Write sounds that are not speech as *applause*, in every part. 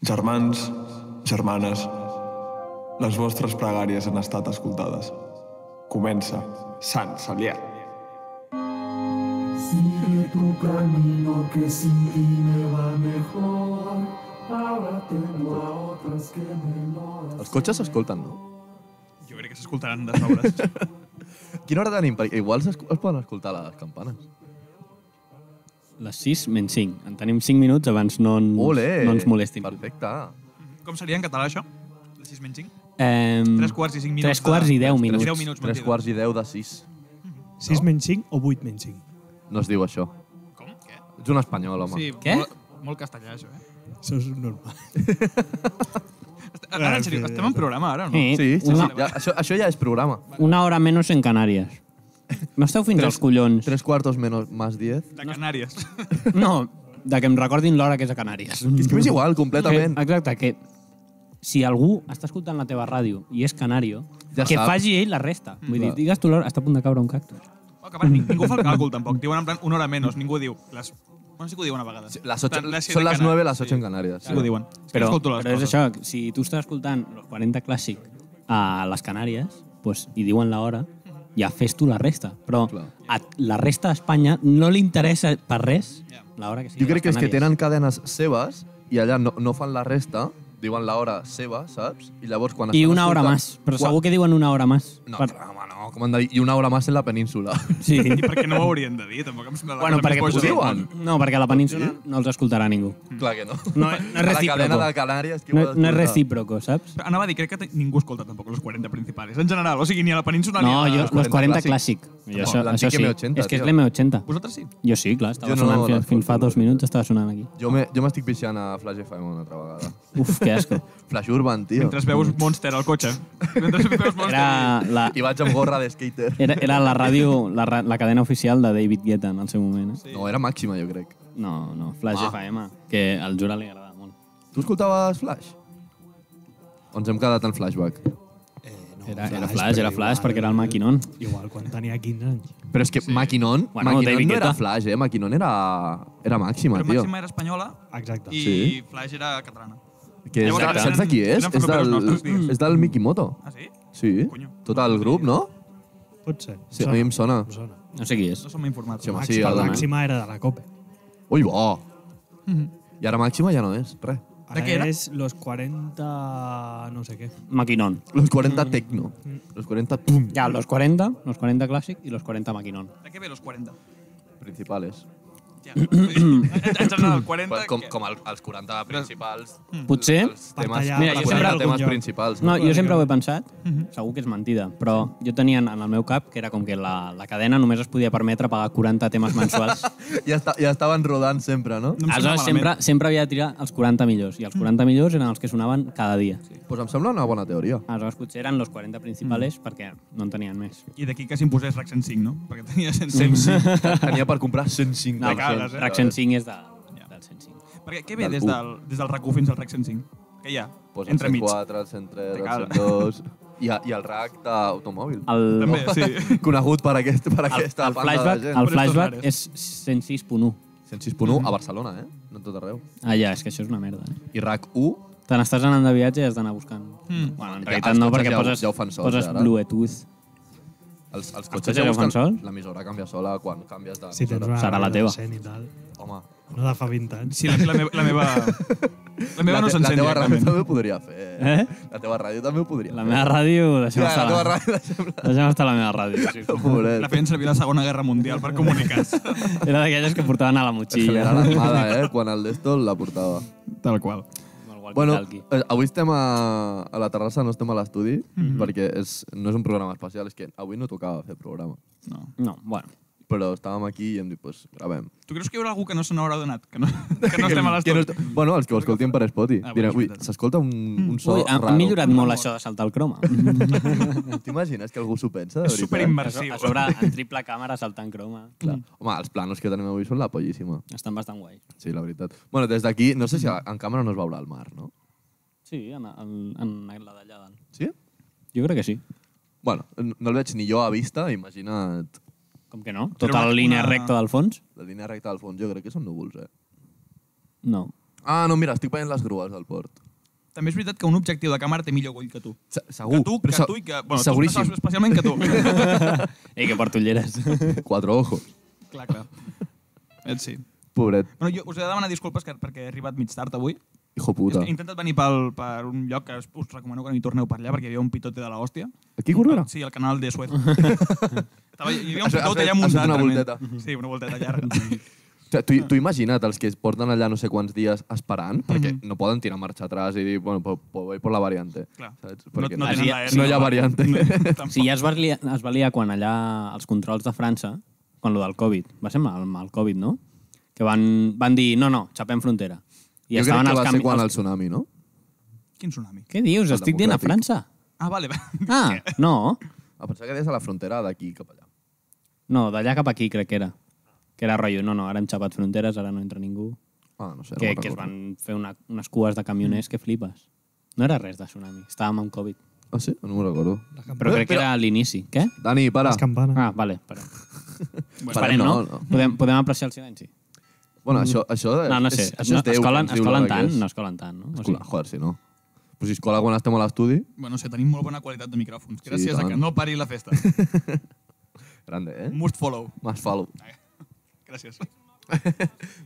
Germans, germanes, les vostres pregàries han estat escoltades. Comença Sant Salià. Sigue tu camino que sin ti me va mejor. Ahora tengo a otras que me lo hacen. Els cotxes s'escolten, no? Jo crec que s'escoltaran de sobres. *laughs* Quina hora tenim? Perquè igual es, es poden escoltar les campanes. Les 6 menys 5. En tenim 5 minuts abans no ens, Ole! no ens molestin. Perfecte. Com seria en català, això? De 6 menys 5? Eh, 3 quarts i 5 minuts. 3 quarts i 10 minuts. 10 minuts, 3 quarts i 10 de 6. 6 menys 5 o 8 menys 5. No es diu això. Com? Què? Ets un espanyol, home. Sí, Què? Molt, molt castellà, això, eh? Això és normal. Ara, en sèrio, sí, estem en programa, ara, o no? Sí. sí, sí, sí. Una- Ja, això, això ja és programa. Una hora menys en Canàries. No esteu fins als collons. 3 quartos menos, más 10. De Canàries. *laughs* No, de que em recordin l'hora que és a Canàries. És que m'és igual, completament. Que, exacte, que si algú està escoltant la teva ràdio i és canario, Ja que sap. faci ell la resta. Vull dir, Clar. digues tu l'hora, està a punt de caure un cactus. No, que, a part, ning- ningú fa el càlcul, tampoc. Diuen en plan una hora menys, ningú diu. Les... Bueno, sí que ho diuen a vegades. Les 8, Tant, set són de les Canàries. 9 i les 8 en Sí. Canàries. Sí que ho diuen. Però, Però, escolto les però és coses. això, si tu estàs escoltant los 40 clàssic a les Canàries pues, i diuen l'hora, ja fes tu la resta. Però Clar. a la resta d'Espanya no li interessa per res Ja. l'hora que sigui. Jo crec que a les els que tenen Canàries. cadenes seves i allà no, no fan la resta, diuen l'hora seva, saps? I llavors quan I estan una hora escoltant- més. Però quan- segur que diuen una hora més. No, per... home, no, com han de dir? I una hora més en la península. Sí. I per què no ho haurien de dir? Tampoc em sembla la Bueno, cosa perquè més boja ho del diuen. món. No, perquè a la península no els escoltarà ningú. Clar que no. No, no és A la recíproco. cadena de Canàries... qui ho No, ha no és d'escoltar? recíproco, saps? Però Anava a dir, crec que te- ningú escolta tampoc los 40 principales. En general, o sigui, ni a la península ni No, a la... jo, los los 40 40 clàssic. Jo, No, això, l'antic això sí. M80, és que és tio. l'M80. Vosaltres sí? Jo sí, clar, estava Jo no sonant fins, l'escolto, fins fa dos no. minuts, estava sonant aquí. Jo me- jo m'estic pixant a Flash FM una altra vegada. Uf, que asco. Flash Urban, tio. Mentre veus Monster al cotxe. Mentre *laughs* veus Monster... Era la, I vaig amb gorra de skater. era, era la ràdio, la, ra- la cadena oficial de David Guetta en el seu moment. Eh? No, era màxima, jo crec. No, no, Flash Ah. FM, que al Jura li agrada molt. Tu escoltaves Flash? O ens hem quedat en flashback? Eh, no, Era, eh? era Flash, era Flash, perquè "Ah, era el maquinon. Igual, quan tenia 15 anys. Però és que sí. Maquinon, Bueno, bueno, Maquinon David no era Guetta. Flash, eh? Maquinon era, era màxima, Però tio. Màxima era espanyola Exacte. i I... Sí. Flash era catalana. Que és, Llavors, saps de qui és? eren És fronters del, nostres, tio. és del Mikimoto. Ah, sí? Sí. Coño. Tot el grup, no? Pot ser. Sí, a mi em sona. Em sona. No sé qui és. No som informats. Sí, home. Max, sí, el- la màxima era de la COPE. Ui, bo! I ara Màxima ja no és, res. Ara què era? és los 40... no sé què. Ah, Maquinon. Los 40 Mm. Tecno. Los 40 Pum. Ja, los 40, los 40 clàssic i los 40 maquinon. De què ve los 40? Principales. Ja. *clears throat* en general, 40... Com, què? com el, els 40 principals. Mm. Potser- Els temes, Partallar- Mira, Mira, jo els 40 sempre- temes principals. No, jo sempre ho he pensat, segur que és mentida, però jo tenia en en el meu cap que era com que la, la cadena només es podia permetre pagar 40 temes *laughs* mensuals. Ja, està, ja estaven rodant sempre, no? No em sembla Aleshores, sempre, malament. sempre havia de tirar els 40 millors, i els 40 millors eren els que sonaven cada dia. Doncs pues em sembla una bona *laughs* teoria. Aleshores, potser eren los 40 principals perquè no en tenien més. I d'aquí que s'imposés RAC 105, no? Perquè tenia 105. Tenia per comprar 105 No, De cables, però eh? RAC 105 és de, del 105. Perquè què ve Del des u. del, des del RAC 1 fins al RAC 105? Què hi ha? Pues Entre mig. El 104, el 103, Te cal. el *laughs* 102... I, a- I el rack d'automòbil. El, També, sí. *laughs* Conegut per, aquest, per *laughs* Ah, el, aquesta el banda flashback, de el gent. flashback rares. és 106.1. 106.1 a Barcelona, eh? No en tot arreu. Ah, ja, és que això és una merda. Eh? I rack 1 Te n'estàs anant de viatge i has d'anar buscant. Mm. Bueno, en Hmm. Ja, realitat els no, cotxes perquè ja ho- poses, ja ho fan sols, poses ara. Bluetooth. Els, els cotxes cotxes ja ja ho fan busquen... sols? L'emissora canvia sola quan canvies de... Si tens una Serà la ràdio teva. de cent I tal. Home, No de fa 20 anys. Sí, la, la, meva, la *laughs* meva... La meva la, te- no la s'encén teva ràdio directament. també ho podria fer. Eh? La teva ràdio també ho podria La fer. meva ràdio... Ja, Deixa'm la estar teva la, ràdio deixem la... deixa'm estar la meva ràdio. Sí. Pobret. La feien servir a la Segona Guerra Mundial per *laughs* comunicar-se. Era d'aquelles que portaven a la motxilla. Era l'armada, eh? Quan el d'esto la portava. Tal qual. Bueno, Bueno, eh, avui estem a, a la terrassa, no estem a l'estudi, Mhm. perquè és, no és un programa especial, és que avui no tocava fer programa. No. no, bueno. Però estàvem aquí i hem dit, doncs, pues, gravem. Tu creus que hi haurà algú que no se n'haurà donat? *laughs* Que no, que no estem a Que no l'estudi? est- Bueno, els que ho escoltin per Spotify. Ah, bueno, Direm, és ui, veritat. s'escolta un, un so Ui, ha, raro. ha millorat molt això de saltar el croma. *laughs* T'imagines que algú s'ho pensa? de És veritat? A superimmersiu. *laughs* so- a sobre, en triple càmera, saltant croma. Clar. Home, els planos que tenim avui són la pollíssima. Estan bastant guai. Sí, la veritat. Bueno, des d'aquí, no sé si en càmera no es veurà el mar, no? Sí, en, en, en la d'allà dalt. Sí? Jo crec que sí. Bueno, n- no el veig ni jo a vista, imagina't Com que no? Tota una- la línia una- recta del fons? la línia recta del fons. Jo crec que són núvols, eh? No. Ah, no, mira, estic veient les grues del port. També és veritat que un objectiu de càmera té millor ull que tu. Se- Segur. que tu, però que se- tu i que... Bueno, seguríssim. Tu, especialment *laughs* que tu. Ei, que porto ulleres. *laughs* Quatre ojos. clar, clar. Et sí. Pobret. Bueno, jo us he de demanar disculpes que, perquè he arribat mig tard avui. Hijo He puta. intentat venir pel, per un lloc que us, us recomano que no hi torneu per allà perquè hi havia un pitote de la hòstia. Aquí, Corbera? Ah, Sí, el canal de *laughs* Suez. Estava, hi havia un Has- has pitote fet- allà muntat. has fet una realment. volteta. Sí, una volteta *laughs* llarga. O sigui, tu, Ah. tu imagina't els que es porten allà no sé quants dies esperant, perquè no poden tirar marxa atrás i dir, bueno, pues, pues voy por la variante. Clar. Saps? No- Perquè no no, tenen no, la- no hi ha variante. *laughs* Tampoc. Sí, ja es va, liar, es va liar quan allà els controls de França, quan lo del Covid, va ser amb el, amb el Covid, no? Que van, van dir, no, no, xapem frontera. I jo crec estaven que els va ser canvi- quan el els... tsunami, no? Quin tsunami? Què dius? El Estic dient a democràtic. França. Ah, vale. va. *laughs* Ah, no. A pensar Ah, que des de la frontera d'aquí cap allà. No, d'allà cap aquí crec que era. Que era rotllo, no, no, ara hem xapat fronteres, ara no entra ningú. Ah, no sé, que, no me'n que es recordo. van fer una, unes cues de camioners que flipes. No era res de tsunami, estàvem amb Covid. Ah, sí? No me'n recordo. Però crec que era a l'inici. Què? Dani, para. Les campanes. Ah, vale, però... Bueno, Esperem, no? no, no. Podem, podem apreciar el silenci? Bueno, això, això No, no sé, és, es, això és no, Déu. es, colen, que ens es diu colen l'hora que tant, és. no es colen tant, no? Es colen, joder, si no. Però si es cola quan estem a l'estudi, Bueno, no sé, tenim molt bona qualitat de micròfons. Gràcies a tant. Eh? que no pari la *laughs* festa. grande, eh? Must follow. Mas falo. Gràcies.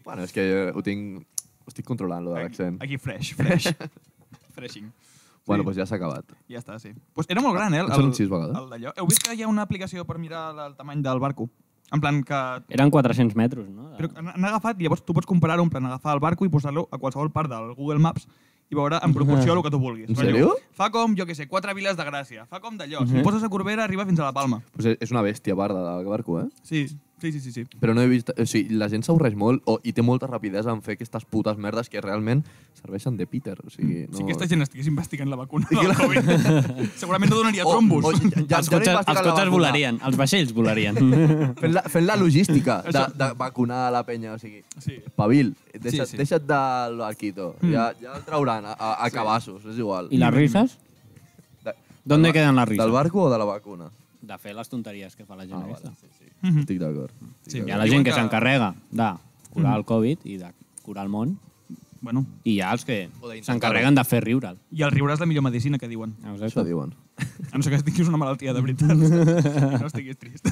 Bueno, és que eh, ho tinc... Ho estic controlant, lo de l'accent. Aquí fresh, fresh. *laughs* Freshing. Bueno, doncs pues ja s'ha acabat. Ja està, sí. Pues era molt gran, eh? El, Em sembla sis vegades. El d'allò. Heu vist que hi ha una aplicació per mirar la- el tamany del barco? En plan que... Eren 400 metres, no? Però han han agafat, llavors tu pots comparar-ho, en plan agafar el barco i posar-lo a qualsevol part del Google Maps i veure en proporció el que tu vulguis. En Rotllo, sèrio? Uh-huh. Fa com, jo què sé, quatre viles de Gràcia. Fa com d'allò. Si poses a Corbera, arriba fins a la Palma. Pues e- és és una bèstia barda del barco, eh? Sí, sí, sí, sí. sí. Però no he vist... O sigui, la gent s'avorreix molt o, i té molta rapidesa en fer aquestes putes merdes que realment serveixen de Peter. O sigui, no... Si aquesta gent estigués investigant la vacuna del Covid, segurament no donaria trombos. O, o, ja, ja els cotxes, els cotxes volarien, els vaixells volarien. Fent la, fent la logística de, de vacunar a la penya, o sigui... Sí. Pavil, deixa't, Sí, sí. sí, sí. deixa't del barquito. Mm. Ja, ja el trauran a, a, a sí. cabassos, és igual. *laughs* I les risas? De, ¿Dónde queden las Del risas? barco o de la vacuna? De fer les tonteries que fa la gent ah, aquesta. Mm. Estic d'acord. Sí, Hi ha la gent que s'encarrega de curar el Covid i de curar el món Bueno, i hi ha els que s'encarreguen de fer riure'l. i el riure és la millor medicina que diuen. Això Exacte. diuen. A no ser que tinguis una malaltia de *laughs* veritat. No estiguis trist.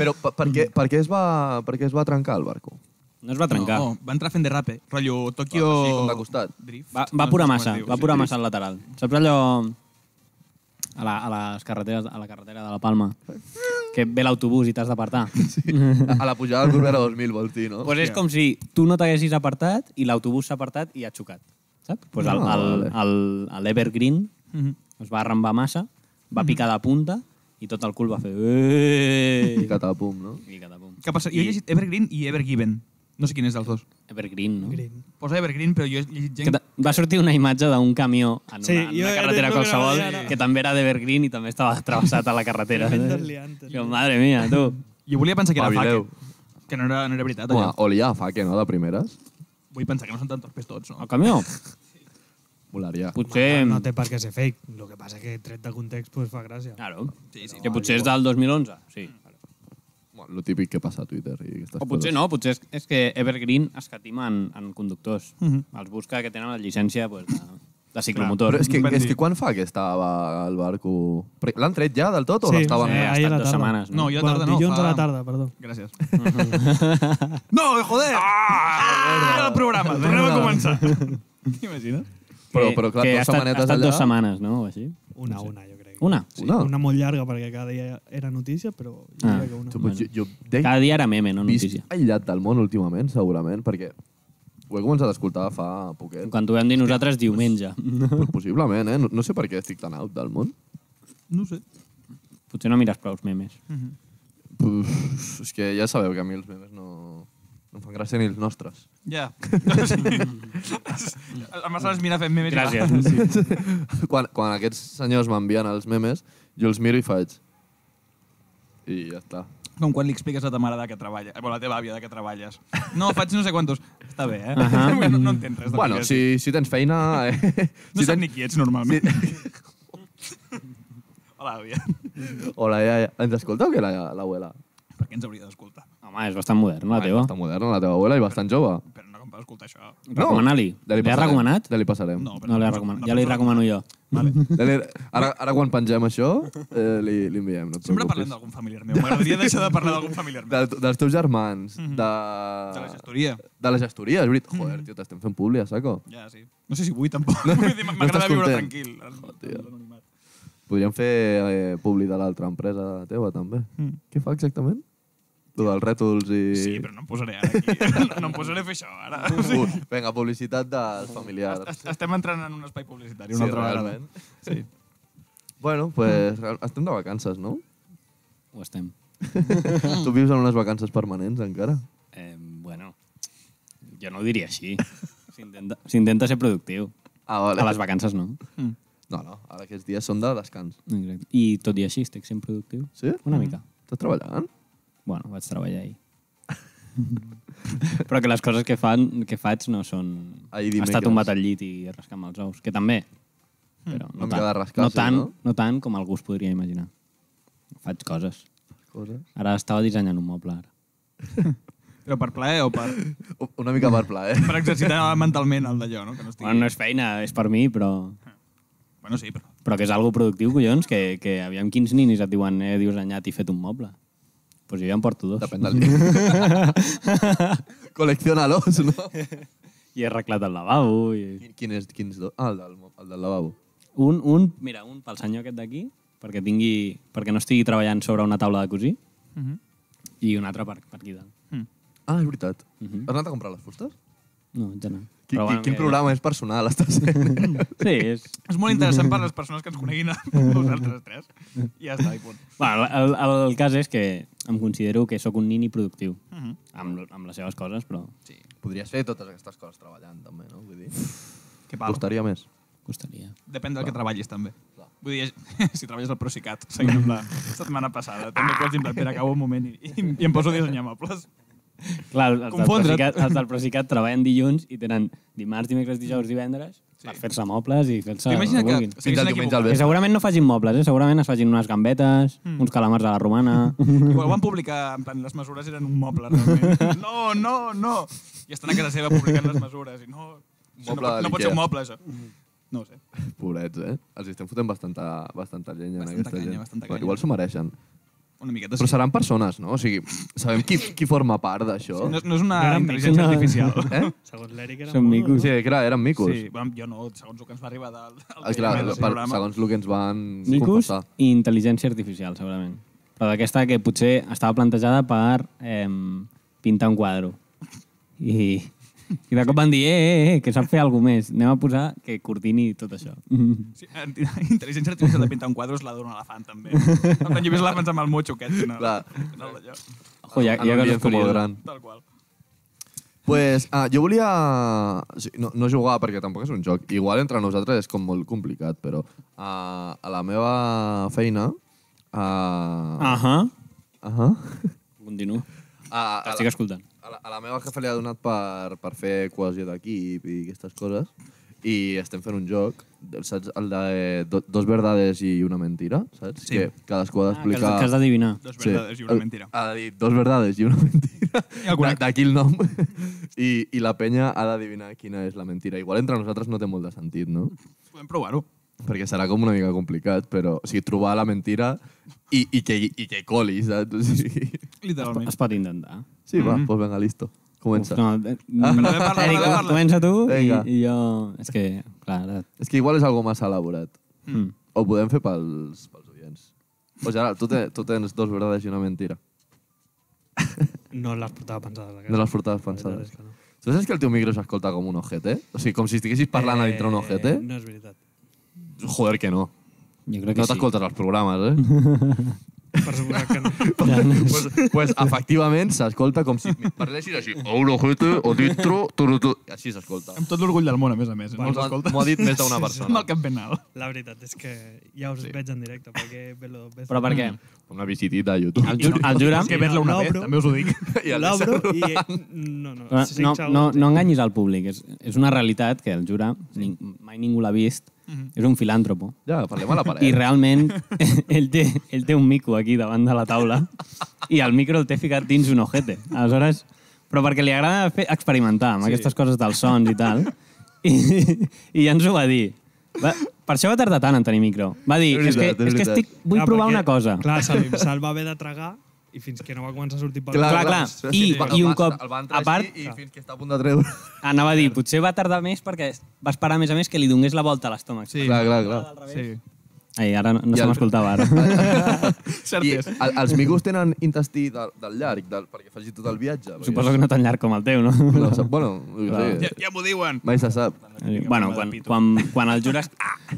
Però per, per, què, per, què es va, per què es va trencar el barco? No es va trencar. No, va entrar fent de rape. Rotllo Tokyo... Va, així, com de costat. Drift. Va, va No pura sé com massa, es diu. va pura massa al lateral. Saps allò a, la, a les carreteres, a la carretera de la Palma, que ve l'autobús i t'has d'apartar? *laughs* Doncs A la pujada del Corbera 2000, vols dir, no? pues és com si tu no t'haguessis apartat i l'autobús s'ha apartat i ha xocat. Saps? Pues el, Ah, el, vale. el, a l'Evergreen Mhm. es va arrambar massa, va picar de punta i tot el cul va fer... I "Ueeeee". catapum, no? I catapum. Què passa? Jo he llegit Evergreen i Evergiven. No sé quin és dels dos. Evergreen, no? Green. Posa Evergreen, però jo he llegit Que gent... ta- va sortir una imatge d'un camió en una, Sí, sí, en jo una era- carretera és lo que qualsevol anava a dir ara. que també era d'Evergreen i també estava travessat a la carretera. Tremendes liantes. Digo, madre mía, *laughs* tu. Jo volia pensar que era Espavileu. fake. Que no era, no era veritat, Home, allò. olia a faque, no?, de primeres. Vull pensar que no són tan torpes tots, no? El camió? Volaria. Potser... No té per què ser fake. El que passa que tret de context pues, fa gràcia. Claro. Sí, sí. Que potser és del 2011, sí. Bueno, lo típic que passa a Twitter. I aquestes O potser coses. no, potser és, és que Evergreen escatima en, en conductors. Els busca que tenen la llicència pues, de, de ciclomotor. Però és que, Van és dir. que quan fa que estava el barco... Perquè L'han tret ja del tot o Sí, l'estava... sí. Eh, Ha ahir estat a la dues tarda. setmanes. No, No, jo bueno, tarda no. dilluns fa... a la tarda, perdó. *laughs* Gràcies. no, joder! Ah, el programa. Tornem a començar. *laughs* T'imagines? Però, però clar, que dues ha estat, setmanetes ha estat allà... dues setmanes, no? O així. Una, una, jo crec. Una. Sí, Una? una. una molt llarga, perquè cada dia era notícia, però jo Ah. crec que una. Tu, pues, jo, jo deia Cada dia era meme, no vist notícia. aïllat del món últimament, segurament, perquè ho he començat a escoltar fa poquet. *laughs* Quan ho vam dir nosaltres, diumenge. Però possiblement, eh? No, no sé per què estic tan out del món. No sé. Mhm. Potser no mires prou memes. Uf, és que ja sabeu que a mi els memes no, no em fan gràcia ni els nostres. *laughs* Ja. *laughs* A massa les mira fent memes. i va. Gràcies. Sí. quan, quan aquests senyors m'envien els memes, jo els miro i faig... I ja està. Com quan li expliques a ta mare de què treballes, bueno, a la teva àvia de què treballes. No, faig no sé quantos. Està bé, eh? *laughs* no, no entens res. del Bueno, que és. si, si tens feina... Eh? *laughs* No si saps tens... ni qui ets, normalment. *laughs* Hola, àvia. *laughs* Hola, ja, ja. Ens escolteu que la- l'abuela? Per què ens hauria d'escoltar? Home, és bastant modern, la Ah, teva. Bastant moderna, la teva abuela, i bastant jove. Però no com per per escoltar això. Recomanar-li. Ja L'he passarem. recomanat? Ja li passarem. No, però No l'he recomanat. Ja però- li recomano jo. Vale. Ja li, ara, ara quan pengem això, eh, li, li enviem. No et Sempre preocupis. parlem d'algun familiar meu. M'agradaria deixar de parlar d'algun familiar meu. Del, dels teus germans, de... Mhm. De la Mhm. gestoria. De la gestoria, és veritat. Joder, tio, t'estem fent públia, saco. Ja, sí. No sé si vull, tampoc. *laughs* Vull dir, M'agrada estàs viure content. tranquil. tio. Podríem fer eh, publi de l'altra empresa teva, també. Mm. Què fa exactament? Tu dels rètols i... Sí, però no em posaré ara aquí. *laughs* No em posaré a fer això, ara. O sigui, Uh, Vinga, publicitat dels familiars. es- Estem entrant en un espai publicitari Sí, una altra vegada. realment. Sí. Bueno, pues, Mhm. real- estem de vacances, no? Ho estem. Tu vius en unes vacances permanents, encara? Eh, bueno, jo no ho diria així. *laughs* S'intenta- S'intenta ser productiu. Ah, A les vacances no. Mm. No, no, ara aquests dies són de descans. Exacte. I tot i així estic sent productiu. Sí? Una mica. Estàs treballant? Bueno, vaig *laughs* treballar ahir. Però que les coses que, fan, que faig no són... Ahir dimecres. Estar Mm. tombat al llit i rascar amb els ous, que també. Però no, Una mica tant, de rascar, no, sí, tant, no? no tant com algú es podria imaginar. Faig coses. Coses. Ara estava dissenyant un moble, ara. eh? Però per plaer o per, U- Una mica per eh? plaer. per exercitar mentalment el d'allò, no? Que no estigui... Bueno, no és feina, és per mi, però... bueno, sí, però... Però que és algo productiu, collons, que, que aviam quins ninis et diuen he dissenyat i fet un moble. Doncs pues jo ja en porto *laughs* dos. Depèn del dia. *laughs* Col·lecciona-los, no? I he arreglat el lavabo. I... Quin és, quins dos? Ah, el del, mo- el del lavabo. Un, un, mira, un pel senyor aquest d'aquí, perquè, tingui, perquè no estigui treballant sobre una taula de cosir, Mhm. i un altre per, per aquí dalt. Ah, és veritat. Mhm. Has anat a comprar les fustes? No, ja no. Qui, qui, Però bueno, quin que- programa és personal *laughs* estàs fent? Sí, és... És molt interessant per les persones que ens coneguin a *laughs* vosaltres tres. I ja està, i punt. Bueno, el, el, el cas és que em considero que sóc un nini productiu, Mhm. amb, amb les seves coses, però Sí. Podries fer totes aquestes coses treballant, també, no? Vull dir, Que pau. costaria més. costaria. Depèn del que treballis, també. Vull dir, *laughs* si treballes al Procicat, seguint amb la setmana passada, també pots dir, espera, acabo un moment i, i, i em poso a dissenyar mobles. Clar, els del, Confondre't. Procicat, els del Procicat treballen dilluns i tenen dimarts, dimecres, dijous, divendres sí. per fer-se mobles i fer-se... el T'imagina que... vulguin. segueixen Fins al diumenge al Que vespre. segurament no facin mobles, eh? segurament es facin unes gambetes, mm. uns calamars a la romana... Igual ho van publicar, en plan, les mesures eren un moble, realment. No, no, no! I estan a casa seva publicant les mesures. I no, això Moble no, pot, de no pot ser l'Ikea. un moble, això. No ho sé. Pobrets, eh? Els estem fotent bastanta, bastanta llenya Bastanta en aquesta canya, gent. bastanta Bueno, canya. Igual s'ho mereixen. Una miqueta Però sí. seran persones, no? O sigui, sabem qui, qui forma part d'això. No, no és No una eren intel·ligència micos, no. artificial. *laughs* Eh? Segons l'Eric era *laughs* Són molt, micos. eh? Sí, clar, eren micos. Sí, bueno, jo no, segons el que ens va arribar del, del Ah, clar, del per, programa. segons el que ens van Micos confessar. i intel·ligència artificial, segurament. Però d'aquesta que potser estava plantejada per eh, pintar un quadro. I, I de cop van dir, eh, eh, eh, que sap fer alguna més. Anem a posar que coordini tot *laughs* això. Sí, enti- intel·ligència artificial de pintar un quadre és la d'un elefant, també. En plan, jo he vist elefants amb el motxo aquest. No? Clar. No, allò, Ojo, hi ha, hi ha coses com curioses. gran. tal qual. Pues, ah, jo volia... sí, No, no jugar, perquè tampoc és un joc. Igual entre nosaltres és com molt complicat, però ah, a la meva feina... Ah, Ahà. ah. Ah, Continuo. a, a, T'estic la, escoltant. a, la, a la meva jefa li ha donat per, per fer cohesió d'equip i aquestes coses, i estem fent un joc, saps? El de eh, do, dos verdades i una mentira, saps? Sí. Que cadascú ha Ah, que has, d'explicar... que has d'adivinar. Dos verdades i una el- mentira. Ha de dir dos verdades i una *laughs* mentira. I alguna- D'a- D'aquí el nom. *laughs* I, I la penya ha d'adivinar quina és la mentira. Igual entre nosaltres no té molt de sentit, no? Podem provar-ho. Perquè serà com una mica complicat, però o sigui, trobar la mentira i, i, que, i que coli, saps? O sigui... Literalment. Es pot intentar. Sí, va, mm -hmm. pues venga, listo. Comença. No, eh, Parla, parla, Eric, parla, parla. comença tu i, Vinga. i jo... És que, clar, ara... És que igual és algo massa elaborat. Mm. Ho podem fer pels, pels oients. O Gerard, tu, te, tu tens dos verdades i una mentira. No les portava pensades. la No cara. les portaves La veritat pensades. és que no. Tu saps que el teu micro s'escolta com un ojete? O sigui, com si estiguessis parlant a dintre un ojete? Eh, No és veritat. Eh, Joder que no. Jo crec que No sí. t'escoltes els programes, *laughs* eh? Per suposar que no. pues, pues, efectivament, s'escolta com si parlessis així. O un ojete, o dintro, tu, tu, tu. Així s'escolta. Amb tot l'orgull del món, a més a més. No els M'ho ha- *laughs* escoltes. M'ho ha dit més d'una Amb *laughs* persona. el cap ben alt. La veritat és que ja us veig en directe, perquè ve-lo dos veces. Però per què? Una visitita a YouTube. El, ju el jura... És que ver-la una no, vez, però- també us ho *laughs* dic. I el L'obro i... No, no. Però cinc Ah, No, no, segons i- no enganyis al públic. És, és una realitat que el jura ni, mai ningú l'ha vist. És un filàntropo. Ja, parlem a la I paret. *laughs* realment ell té, ell té un mico aquí davant de la taula i el micro el té ficat dins un ojete. Aleshores, Però perquè li agrada fer, experimentar amb sí. aquestes coses dels sons i tal. I, I ja ens ho va dir. Va, per això va tardar tant en tenir micro. Va dir, És és, veritat, que, és és que veritat. estic, vull Clar, provar perquè, una cosa. Clar, Clar, se'l *laughs* se va haver de tragar i fins que no va començar a sortir pel clar. clar, clar. sí, I, sí, va- i un va- cop, el va entrar a part, així i fins que està a punt de treure. anava a dir, potser va tardar més perquè va esperar, a més a més, que li donés la volta a l'estómac. Sí. Clar, clar, clar. Sí. Ai, ara no, no I se el- Ah, m'escoltava, ara. Cert I és. el, els micos tenen intestí del, del llarg, del, perquè faci tot el viatge. perquè- *laughs* Suposo que no tan llarg com el teu, no? No, sap, bueno, jo Ja, sé, ja m'ho diuen. mai se sap. Bueno, quan, quan, quan el *laughs* jures,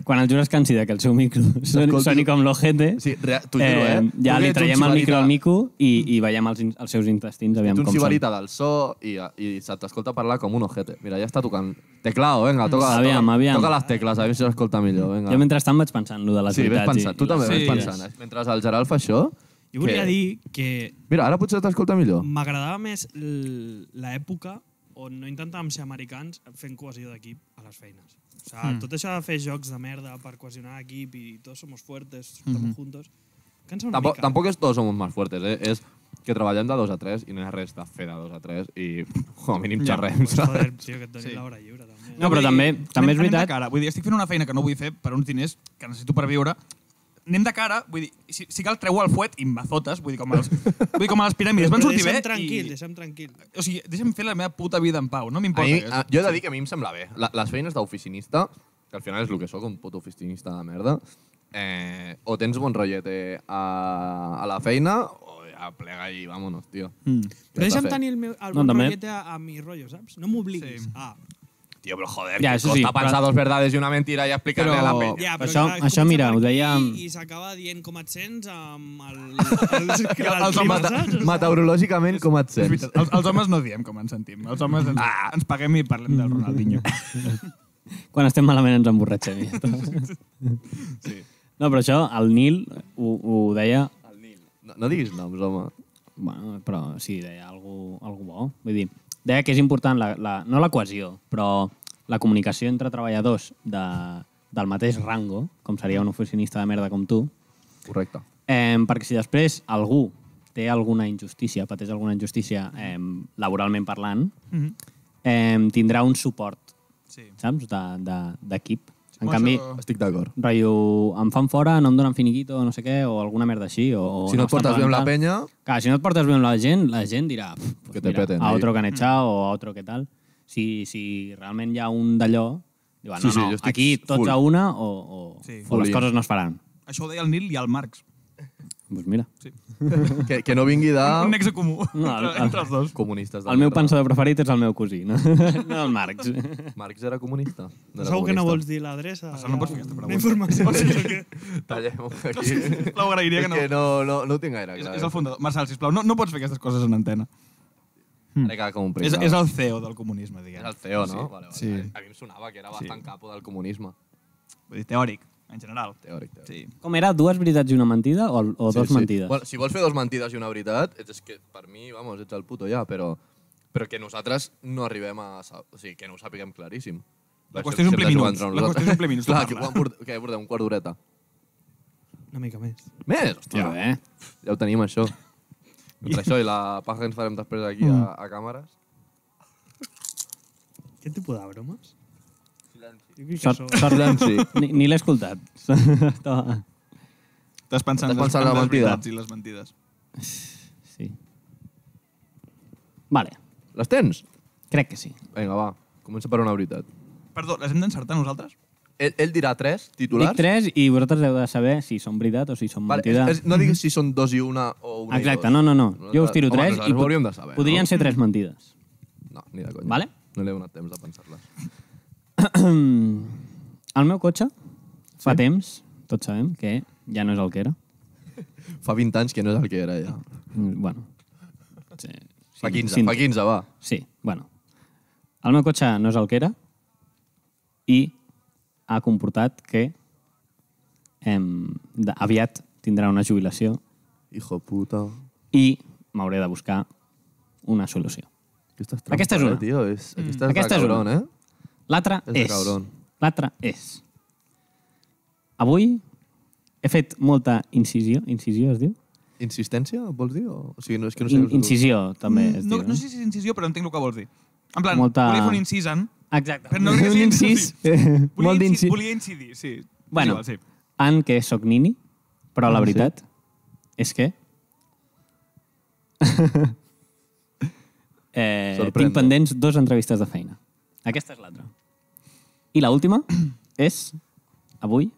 quan el jures cansida que el seu micro soni, Escolti- soni com l'ojete, Sí, rea- t'ho juro, eh? Tu ja que li ets un traiem el micro xibarita. al mico i, i veiem els, in- els seus intestins, aviam Ets com un són. cibarita del so i, i se t'escolta parlar com un ojete. Mira, ja està tocant. Teclao, venga, toca, Aviam, toca, aviam. toca les tecles, a veure si s'escolta millor. Venga. Jo mentrestant vaig pensant lo de les sí, ves veritats. pensant. Tu també Sí. ves pensant. eh? Mentre el Gerald fa això... Jo volia dir que Mira, ara potser t'escolta Oh. millor. m'agradava més l- l'època on no intentàvem ser americans fent cohesió d'equip a les feines. O sigui, Hmm. mm. tot això de fer jocs de merda per cohesionar equip i tots somos fuertes, estamos Hmm. juntos, cansa una Tampoc, mica. tampoc és tots som més fuertes, eh? És que treballem de dos a tres i no hi ha res de fer de dos a tres i com a mínim xerrem, Pues, saps? joder, tio, que et donin Sí. sí. l'hora lliure, també. No, però vull dir, també- també és anem- anem de veritat- Cara. Vull dir, estic fent una feina que no vull fer per uns diners que necessito per viure. Anem de cara, vull dir, si, si cal treu el fuet i m'azotes, vull dir, com a *laughs* les, vull dir, com a les piràmides. Van Però sortir bé Deixa'm tranquil, i... deixa'm tranquil. O sigui, deixa'm fer la meva puta vida en pau, no A m'importa. mi, que- a, jo he de dir que a mi em sembla bé. La, les feines d'oficinista, que al final és el que sóc, un puto oficinista de merda, eh, o tens bon rotllete a, a la feina, o ja plega i vámonos, tio. Mm. Però deixa'm tenir el meu el No, no, també. rotllete a, a mi rotllo, saps? No Sí. m'obliguis. Sí. Ah, Tio, però joder, ja, Ja, que això costa sí, sí, però- pensar dos verdades i una mentira i explicar-li a la Oh, Però- penya. Ja, ja, però això- clar, això, comença mira, per ho aquí dèiem- I s'acaba dient com et sents amb el... *laughs* el, el, el, Els homes Meta, meteorològicament, com et És sents? veritat, els, els homes no diem com ens sentim. Els homes ens, ah. ens paguem i parlem del *laughs* Ronaldinho. Quan estem malament ens emborratxem. *laughs* Ja. està. No, però això, el Nil ho, ho deia... No, no diguis noms, home. Bueno, però sí, deia algú, algú bo. Vull dir, deia que és important, la, la, no la cohesió, però la comunicació entre treballadors de, del mateix rango, com seria un oficinista de merda com tu, Correcte. Eh, perquè si després algú té alguna injustícia, pateix alguna injustícia eh, laboralment parlant, mm -hmm. eh, tindrà un suport, Sí. saps, de- de- d'equip. En Bueno, canvi, això- Estic d'acord. rotllo, em fan fora, no em donen finiquito, o no sé què, o alguna merda així. O, o Si no et estan portes bé amb la pagant tal. penya, Clar, si no et portes bé amb la gent, la gent dirà... "Pf, Pues Que te mira, peten, A ahí." otro que han echado, o a otro que tal. Si, si realment hi ha un d'allò, diuen, Sí, no, sí, no, jo estic aquí tots full. a una o, o, Sí. o les Full in. coses no es faran. Això ho deia el Nil i el Marx. Doncs pues mira. que, que no vingui de Un nexe comú Ah. No, el- entre, entre els dos. comunistes de El meu merda. pensador preferit és el meu cosí, no, *laughs* no el Marx. Marx era comunista. No era Segur que comunista. no vols dir l'adreça. Això no pots fer aquesta La pregunta. informació. Sí. Que... Tallem aquí. Ho agrairia És que no. que no, no, no ho tinc gaire És, clar. és el fundador. Marçal, sisplau, no, no pots fer aquestes coses en antena. Ara queda com un És, pringau. és el CEO del comunisme, És diguem. el E CEO, no? Vale, vale. Sí. A mi em sonava que era bastant capo del comunisme. Vull dir, teòric, en general. Teòric, teòric. Sí. Com era? Dues veritats i una mentida o, o dos mentides? Bueno, si vols fer dos mentides i una veritat, ets- és que per mi, vamos, ets el puto ja, però, però que nosaltres no arribem a... sa- O sigui, que no ho sàpiguem claríssim. La qüestió és omplir Sempre jugant minuts. entre La qüestió és nosaltres. omplir minuts, tu Clar, que, parla. quan port, que portem un quart d'horeta. Una mica més. Més, hòstia. Molt bé. Ja ho tenim, *laughs* això. Entre això i la paja que ens farem després aquí a, a càmeres. Què tipus de bromes? Jo crec que Sort, això... sort, Silenci. ni ni l'he escoltat. *laughs* Estava- Estàs pensant, Estàs pensant en en la les mentida. veritats i les mentides. sí. Vale, *laughs* Les tens? crec que sí. Vinga, va. Comença per una veritat. Perdó, les hem d'encertar nosaltres? Ell, ell dirà tres titulars. Dic tres i vosaltres heu de saber si són veritat o si són Vale, mentida. és- és- no diguis si són dos i una o una Exacte, i no, dos. no, no. Jo us tiro Home, tres nosaltres i ho hauríem de saber, podrien no? ser tres mentides. *clears throat* No, ni de conya. Vale. No li he donat temps de pensar-les. El meu cotxe, fa temps, tots sabem, que ja no és el que era. Fa 20 anys que no és el que era ja. Mm, Bueno. Sí, Fa sí, 15, sí. fa 15, va. Sí, bueno. El meu cotxe no és el que era i ha comportat que em, de, aviat tindrà una jubilació Hijo puta. i m'hauré de buscar una solució. Aquesta és, Aquesta és eh, una. tio. És, aquesta és, Aquesta de és cabron, una. eh? L'altra És de és... cabron. L'altra és... Avui he fet molta incisió, incisió es diu, Insistència, vols dir? O, o sigui, no, és que no sé... In incisió, també. Mm, es No, diu, eh? no sé si és incisió, però entenc el que vols dir. En plan, Molta- volia fer un incís en... Exacte. Però no crec que un sigui incís. Volia, *laughs* Molt inci- d'incis. volia incidir, sí. És Bueno, igual, sí. en que sóc nini, però Ah, la sí? veritat és *laughs* que... eh, Sorprèn-me. tinc pendents dues entrevistes de feina. Aquesta és l'altra. I la *clears throat* última és, avui,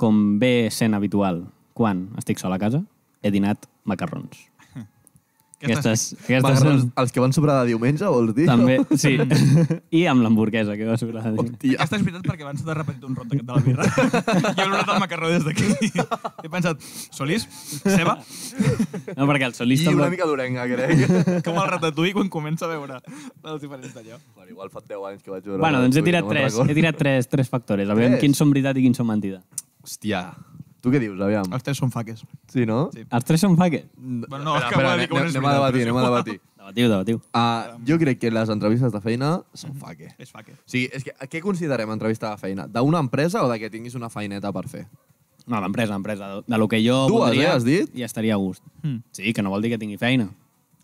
com ve sent habitual quan estic sol a casa, he dinat macarrons. Aquestes, aquestes Macarrons, són els que van sobrar de diumenge, vols dir? també, sí. I amb l'hamburguesa que va sobrar. de dinar. *laughs* Hòstia. Aquesta és veritat perquè abans t'ha repetit un rot d'aquest de la birra. *laughs* jo he obrat el macarró des d'aquí. he pensat, Solís, ceba, No, perquè el I solista... una mica d'orenga, *laughs* crec. com el ratatouille quan comença a veure els diferents d'allò. bueno, igual fa 10 anys que vaig veure... Bueno, doncs he Ratatouille, no tirat me'n tres, recordo. he tirat tres, tres factores. A veure Tres? quins són veritat i quins són mentida. Hòstia. Tu què dius, aviam? Els tres són faques. Sí, no? Ah, Sí. Els tres són faques? Bueno, no, és que volia dir que un anem, és anem a veritat, debatir, anem a però és igual. debatir. Debatiu, debatiu. Uh, jo crec que les entrevistes de feina Mm-hmm. són faque. És faque. O sigui, és que, què considerem entrevista de feina? D'una empresa o de que tinguis una feineta per fer? No, l'empresa, l'empresa. De, de lo que jo Dues, eh, voldria, has dit? i estaria a gust. Sí, que no vol dir que tingui feina.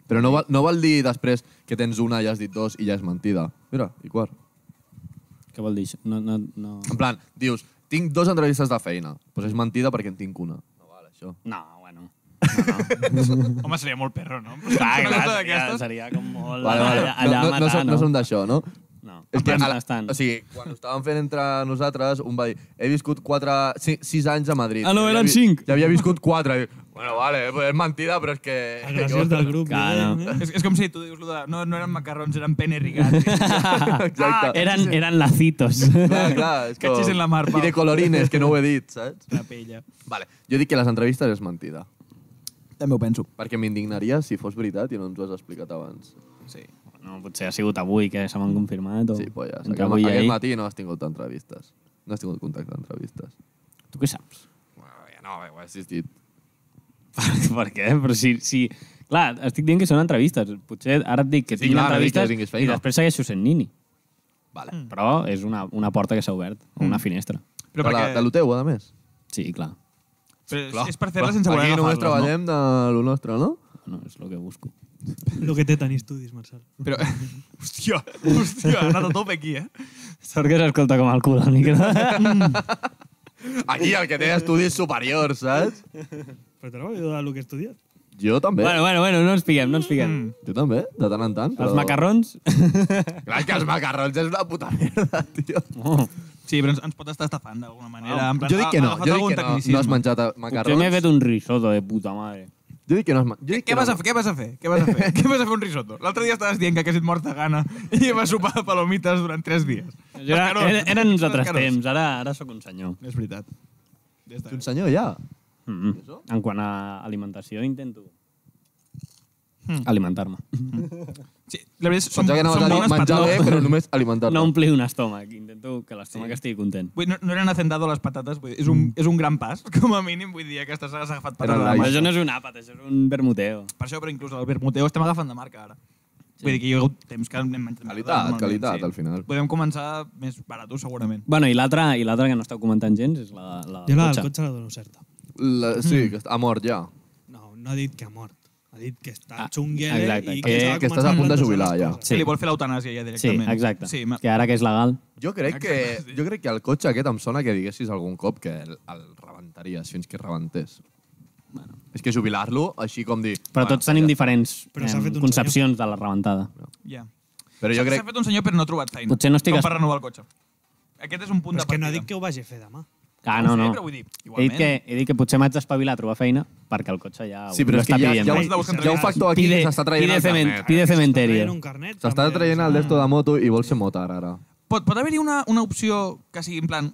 Però no val, no val dir després que tens una i has dit dos i ja és mentida. Mira, i quart. Què vol dir això? No, no, no... En plan, dius, tinc dos entrevistes de feina, però és mentida perquè en tinc una. No val, això. No, *laughs* bueno. *laughs* Home, seria molt perro, no? Clar, clar, Una cosa seria, d'aquestes. seria com molt Vale, vale. allà, allà no, no, no, matar, som, no som d'això, no? No, És que, no a la- estan. o sigui, quan ho estàvem fent entre nosaltres, un va dir, he viscut 4, 6, 6 anys a Madrid. Ah, no, I havia eren vi- cinc. I havia viscut 4. I, bueno, vale, pues és mentida, però és que... Gràcies *laughs* del grup. Cara. Miren, eh? És, és com si tu dius lo de... No, no eren macarrons, eren pene rigat. *laughs* Exacte. eren, eren lacitos. Clar, clar, és Que xis en la mar, Pau. I de colorines, que no ho he dit, saps? La pella. Vale, jo dic que les entrevistes és mentida. També ho penso. Perquè m'indignaria si fos veritat i no ens ho has explicat abans. Sí. no, potser ha sigut avui que se m'han confirmat. O... Sí, polles. Entre Aquest, avui i aquest ahir. matí no has tingut entrevistes. No has tingut contacte d'entrevistes. Tu què saps? Bueno, ja no, ho he assistit. Per, *laughs* per què? Però si, si... Clar, estic dient que són entrevistes. Potser ara et dic que Sí, tinc clar, no dic que entrevistes tinguis i feina. després segueixo sent nini. Vale. Però és una, una porta que s'ha obert, o una finestra. de, Però la, perquè... de lo teu, a més. Sí, clar. Però és- Clar, és per fer-la clar. sense voler Aquí només agafar-les, treballem de lo nostre, no? No, és el que busco. Lo que té tenir estudis, Marcel. no? Però... Hòstia, hòstia, ha anat a tope aquí, eh? Sort que s'escolta com el cul al micro. Aquí el que té estudis superiors, saps? Però te l'heu de lo que estudies? Jo també. *laughs* bueno, bueno, bueno, no ens piguem, no ens piguem. Mm. Jo també, de tant en tant. Els macarrons... *laughs* Clar que els macarrons és una puta merda, tio. Sí, però ens, ens pot estar estafant d'alguna manera. Ah, en plan, jo dic que ha- no, ha agafat jo dic algun que no, no tecnicisme. has menjat eh, Potser m'he macarrons. fet un risotto de puta madre. Jo dic que no has menjat. Què vas a fer? Què vas a fer? Què vas *laughs* a fer? què vas a fer un risotto? L'altre dia estaves dient que haguessis mort de gana i vas sopar palomites durant tres dies. Era, Mascarons. era, eren uns altres Mascarons. temps, ara, ara sóc un senyor. És veritat. Des Ets de... un senyor, ja. Mm -hmm. En quant a alimentació, intento Mm. alimentar-me. Sí, la veritat, és que són, Pensava que anaves són a dir bones menjar bé, patates. però només alimentar-te. No omplir un estómac, intento que l'estómac sí. estigui content. Vull, dir, no, no eren hacendado les patates, vull, dir, és, Mm. un, és un gran pas, *laughs* com a mínim, vull dir, aquestes has agafat patates Eren de light. Però marca. això no és un àpat, això és un vermuteo. Per això, però inclús el vermuteu estem agafant de marca, ara. Sí. Vull dir que hi ha hagut temps que anem menjant. Qualitat, qualitat, al final. Podem començar més barat, segurament. Bueno, i l'altra i l'altra que no esteu comentant gens és la, la Jo del la del cotxe. cotxe la dono certa. La, sí, que està- ha mort ja. No, no ha dit que ha mort. Ha dit que està Ah, xunguera exacte, i que- que, que estàs a punt de jubilar, ja. Sí. Sí. Li vol fer l'eutanàsia ja Sí, directament. exacte. Sí, Sí, ma- que ara que és legal, Jo crec, que, jo crec que el cotxe aquest em sona que diguessis algun cop que el, el rebentaries fins que rebentés. Bueno. És que jubilar-lo, així com dir... però bueno, tots tenim diferents Però em, s'ha fet un concepcions de la rebentada. ja. Però jo S'ha- crec... S'ha fet un senyor però no ha trobat feina. Potser no estic Com es- per renovar el cotxe. Aquest és un punt Però de és que partida. no ha dit que ho vagi a fer demà. Ah, no, Sí, no. però vull dir, he, dit igualment. que, he dit que potser m'haig d'espavilar a trobar feina perquè el cotxe ja Sí, però és que està ja, pident. ja, ho ho, has de buscar ja un factor aquí pide, que s'està traient pide, el cement, carnet. pide cementerio. Traient un carnet. S'està també, traient el desto de moto i vol ser motar, ara. Pot, pot haver-hi una, una opció que sigui, en plan,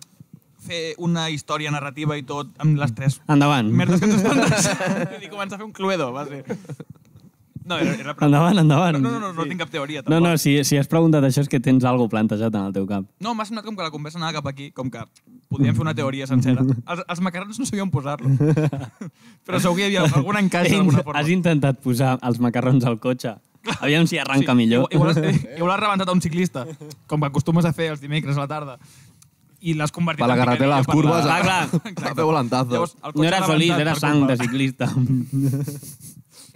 fer una història narrativa i tot amb Mm. les tres Endavant. merdes que ens *laughs* estan deixant. I començar a fer un cluedo, va ser. No, era, era pregunta. Endavant, endavant. No, no, no, no, tinc cap teoria, No, tampoc. no, si, si has preguntat això és que tens alguna plantejat en el teu cap. No, m'ha sonat com que la conversa anava cap aquí, com que podíem fer una teoria sencera. Els, els macarrons no *laughs* sabíem posar-los. Però segur que hi havia algun encaix d'alguna forma. Has intentat posar els macarrons al cotxe. Aviam si arranca millor. eh, Igual, igual, has, igual has rebentat a un ciclista, com que acostumes a fer els dimecres a la tarda. i l'has convertit Per la en carretera, les picarillo per curves, la- Clar, a, clar. *laughs* a fer volantazo. Llavors, el No cotxe era l'ha Solís, avançat era per sang de culpa. ciclista. *laughs*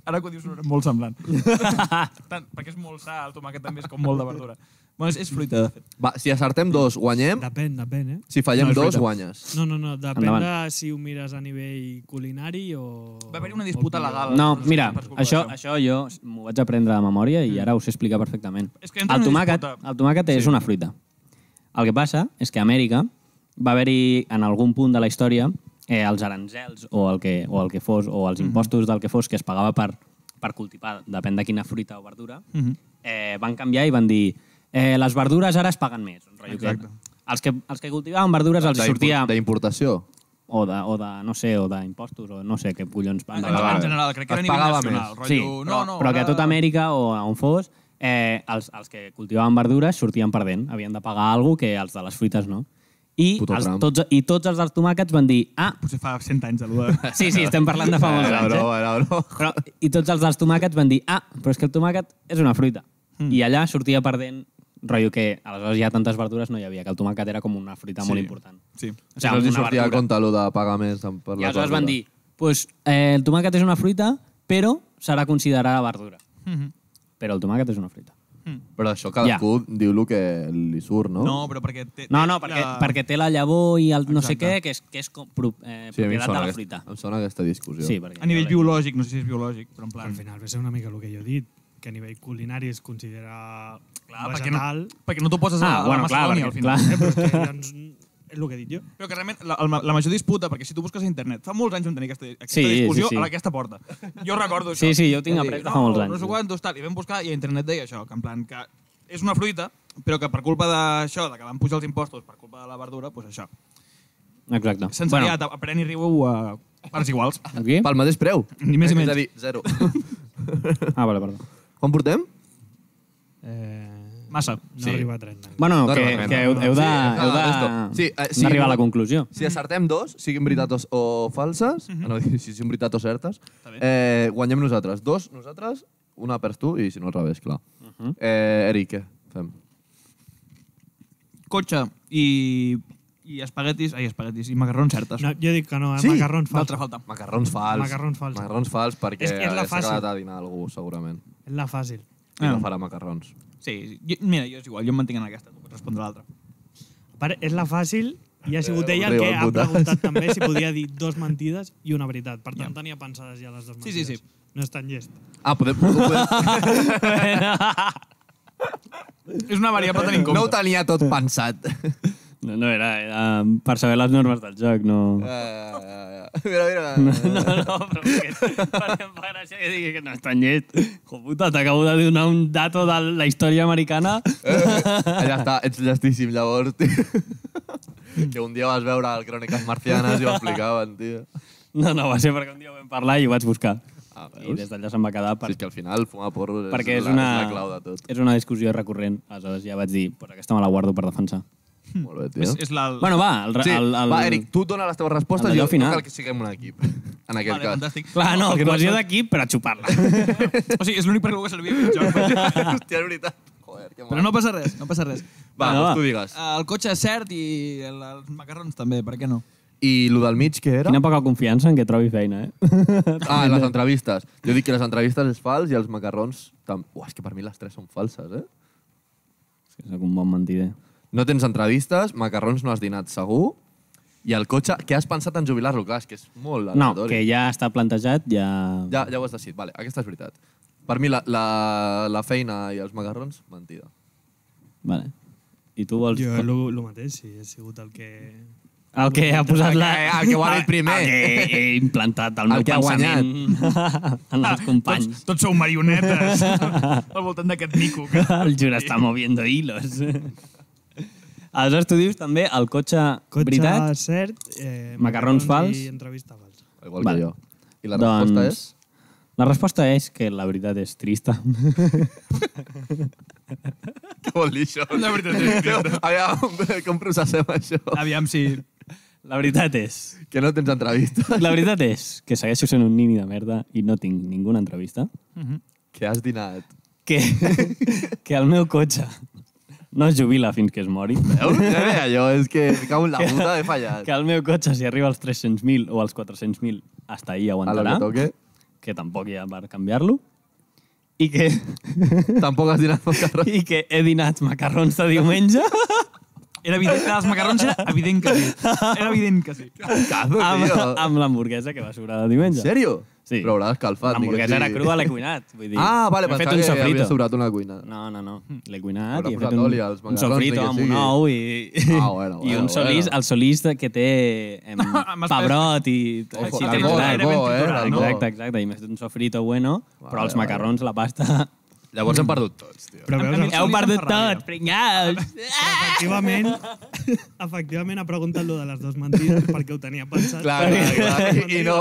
Ara que ho dius, no era molt semblant. *laughs* Tant, perquè és molt sa, el tomàquet també és com molt de verdura. Bueno, és, és fruita, de fet. Va, si acertem dos, guanyem. Depèn, depèn, eh? Si fallem No, és dos, veritat. guanyes. No, no, no, depèn Endavant. de si ho mires a nivell culinari o... Va haver-hi una disputa o- legal. No, mira, Per culpa això, això d'això. jo m'ho vaig aprendre de memòria i ara us he explicat perfectament. Mm. És que entra el en una tomàquet, disputa. el tomàquet és una fruita. El que passa és que a Amèrica va haver-hi en algun punt de la història eh, els aranzels o el, que, o el que fos, o Mhm. els impostos del que fos que es pagava per, per cultivar, depèn de quina fruita o verdura, Mhm. eh, van canviar i van dir eh, les verdures ara es paguen més. Un rotllo que, Exacte. els, que, els que cultivaven verdures els hi Doncs sortia... D'importació. O de, o de, no sé, o d'impostos, o no sé què collons van. En, regalar. en general, crec que era a Es nivell pagava nacional. més. Rotllo, Sí, no, però, no, però que a ara- tota Amèrica o a on fos, eh, els, els que cultivaven verdures sortien perdent. Havien de pagar alguna que els de les fruites no. I, Puto els, Trump. tots, I tots els dels tomàquets van dir *laughs* ah, Potser fa 100 anys, *laughs* el de... sí, sí, estem parlant de fa molts Era anys. Eh? broma, era broma. Però, I tots els dels tomàquets van dir ah, però és que el tomàquet és una fruita. Hmm. I allà sortia perdent rotllo que aleshores ja tantes verdures no hi havia, que el tomàquet era com una fruita molt important. Sí. O Si no els hi una sortia a verdura. compte allò de pagar més amb- per I la aleshores van dir, pues, eh, el tomàquet és una fruita, però serà considerada verdura. Mhm. Però el tomàquet és una fruita. Però això cadascú diu el que li surt, no? No, però perquè... Té, No, no, perquè, la- perquè té la llavor i el no sé Exacte. què, que és, que és com, pro, eh, sí, a mi em propietat de sona, la aquesta, fruita. em sona aquesta discussió. Sí, perquè, A nivell biològic, no sé si és biològic, però en plan... Al final ve a ser una mica el que jo he dit, que a nivell culinari es considera Clar, perquè no, vegetal, perquè no t'ho poses a, Ah, a bueno, la clar, Macedònia, perquè, al final. clar. eh, però és que ja ens, és el que he dit jo. Però que realment la, el- la major disputa, perquè si tu busques a internet, fa molts anys on tenia aquesta, aquesta Sí, sí, discussió sí. a aquesta porta. Jo recordo això. Sí, sí, jo ho tinc Vam après dir, "Oh, de fa molts No, no anys. sé quantos, tal, i vam buscar i a internet deia això, que en plan que és una fruita, però que per culpa d'això, de que van pujar els impostos per culpa de la verdura, doncs això. Exacte. Sense bueno. Bueno, aliat, aprèn i riu a parts iguals. aquí? Pel mateix preu. Eh, Ni més ni És a menys. dir, zero. Ah, vale, perdó. Quan portem? Eh, Massa. no arriba a 30. Bueno, No, que, no, no, que no, heu, no. heu de, Sí, no, heu de, esto. Sí, eh, sí, d'arribar a la no. conclusió. *laughs* Si acertem dos, siguin veritats o falses, Mhm. eh, no, *laughs* si siguin veritats o certes, bé. eh, guanyem nosaltres. Dos, nosaltres, una per tu i si no al revés, clar. Mhm. eh, Eric, què fem? Cotxe i, i espaguetis, ai, espaguetis, i macarrons certes. No, jo dic que no, eh? Sí, macarrón fals. D'altra falta. Macarrons fals. Macarrons fals. Macarrons fals perquè És que és la s'ha fàcil. quedat a dinar algú, segurament. És la fàcil. I Ah. no farà macarrons. Sí, sí. Jo, mira, jo és igual, jo em mantinc en aquesta, tu pots respondre a l'altra. A part, és la fàcil i Eh, ha sigut ella el Arriba, que ha puta. preguntat *laughs* també si podia dir dos mentides i una veritat. Per tant, tenia pensades ja les dues Sí, sí, mentides. sí. No és tan llest. Ah, podem... *laughs* podem És una variable a tenir en compte. no ho tenia tot pensat. No, no era, era per saber les normes del joc, *laughs* no... Eh, mira, mira. No, no, *laughs* però perquè, perquè em fa gràcia que digui que no és tan llest. Jo, puta, t'acabo de donar un dato de la història americana. Ja està, ets llestíssim, llavors, tio. que un dia vas veure el Cròniques Marcianes i ho explicaven, tio. No, no, va ser perquè un dia ho vam parlar i ho vaig buscar. Ah, veus? I des d'allà se'm va quedar per, Si és que al final fumar porros és, perquè és, la, una, és la clau de tot. és una discussió recurrent. Aleshores ja vaig dir, pues aquesta me la guardo per defensar. Mm. Molt bé, tio. És, és la... Bueno, va, el, Sí, el, el, va, Eric, tu dona les teves respostes el i d'allò jo final. no cal que siguem un equip, en aquest vale, cas. fantàstic. Clar, no, que cohesió passa- d'equip per a xupar-la. O sigui, és l'únic per què que servia aquest joc. *laughs* Hòstia, és veritat. Joder, que Però no passa res, no passa res. Va, Va, doncs Ah, va. tu digues. Eh, El cotxe és cert i el- els macarrons també, per què no? I lo del mig, què era? Quina poca confiança en que trobi feina, eh? *laughs* Ah, les entrevistes. Jo dic que les entrevistes és fals i els macarrons... Tam... Uah, és que per mi les tres són falses, eh? És que soc un bon mentider. No tens entrevistes, macarrons no has dinat segur, i el cotxe, que has pensat en jubilar-lo? Clar, és que és molt No, aleatori. que ja està plantejat, ja... Ja, ja ho has decidit, vale, aquesta és veritat. Per mi la, la, la feina i els macarrons, mentida. Vale. I tu vols... Jo el, el mateix, sí, he sigut el que... El que ha posat la... Ah, El que- el que ho ha dit primer. El que he implantat al El meu que ha guanyat. Doncs pensament *laughs* en els companys. Tots, tots sou marionetes al voltant d'aquest mico. Que... *laughs* El Jura està moviendo *laughs* hilos. Aleshores, tu dius també el cotxe, *laughs* Cotxe *laughs* veritat? cert, eh, Macarrons fals. i entrevista falsa. Igual Vale. Doncs- que jo. I la resposta és... La resposta és que la veritat és trista. *laughs* Què vol dir això? La veritat és *laughs* veritat. Aviam, com processem això? Aviam si... La veritat és... Que no tens entrevista. La veritat és que segueixo sent un nini de merda i no tinc ninguna entrevista. *laughs* Que has dinat. Que, que el meu cotxe No es jubila fins que es mori. Veus? Ja ve allò, és que em cago en la puta, he fallat. Que el meu cotxe, si arriba als 300.000 o als 400.000, hasta ahí A la aguantarà. que toque. que tampoc hi ha per canviar-lo. I que, Tampoc has dinat pel *laughs* carrer. I que he dinat macarrons de diumenge Era evident, dels macarrons era evident que sí. Era evident que sí. Cazo, amb, tio. amb l'hamburguesa que va sobrar de diumenge. En sèrio? Sí. Però haurà escalfat. L'hamburguesa digues, era sí. crua, l'he cuinat. Vull dir, Ah, vale, m'he fet pensava un que havia sofrito. sobrat una cuina. No, no, no. L'he cuinat Haurà i he posat fet un, oli als un macarrons, ni sofrito que amb sigui. un ou i, *laughs* Ah, bueno, i bueno, un solís, bueno. el solís de- que té em, *laughs* Amb els pebrot i... Ojo, així l'alcohol, té l'alcohol, vinagre. l'alcohol, eh, Exacte, l'alcohol. Exacte, exacte. I m'he fet un sofrito bueno, però els macarrons, la pasta... Llavors hem perdut tots, tio. Però A- a veus, mi- Heu em fa perdut ràbia. tot, pringaus! *laughs* efectivament, efectivament ha preguntat lo de les dues mentides perquè ho tenia pensat. Clar, clar, clar. I, i no...